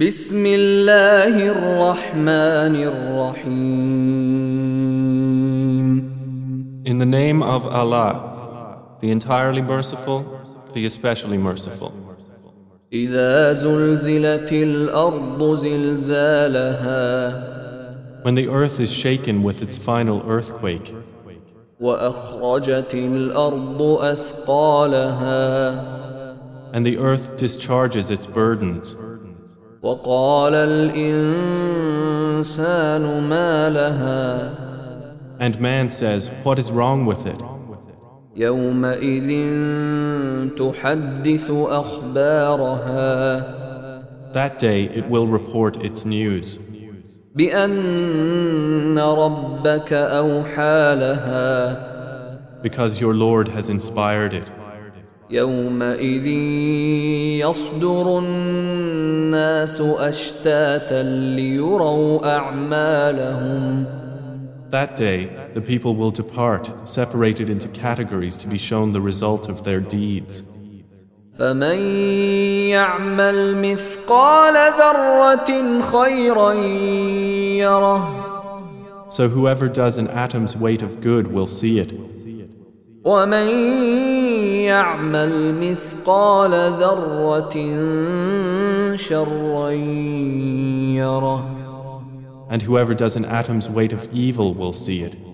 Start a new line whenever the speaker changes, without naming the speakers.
بسم الله الرحمن الرحيم
In the name of Allah, the entirely merciful, the especially merciful.
إذا زلزلت الأرض زلزالها
When the earth is shaken with its final earthquake,
وأخرجت الأرض أثقالها
and the earth discharges its burdens,
وقال الإنسان ما لها
and man says, What is wrong with it?
يومئذ تحدث أخبارها
That day it will report its news,
بأن ربك أوحى لها
because your Lord has inspired it.
يومئذ يصدر الناس أشتاتا ليروا أعمالهم
That day the people will depart, separated into categories to be shown the result of their deeds.
فمن يعمل مثقال ذرة خيرا يره
So whoever does an atom's weight of good will see it.
ومن يعمل مثقال ذرة شرا يره
And whoever does an atom's weight of evil will see it.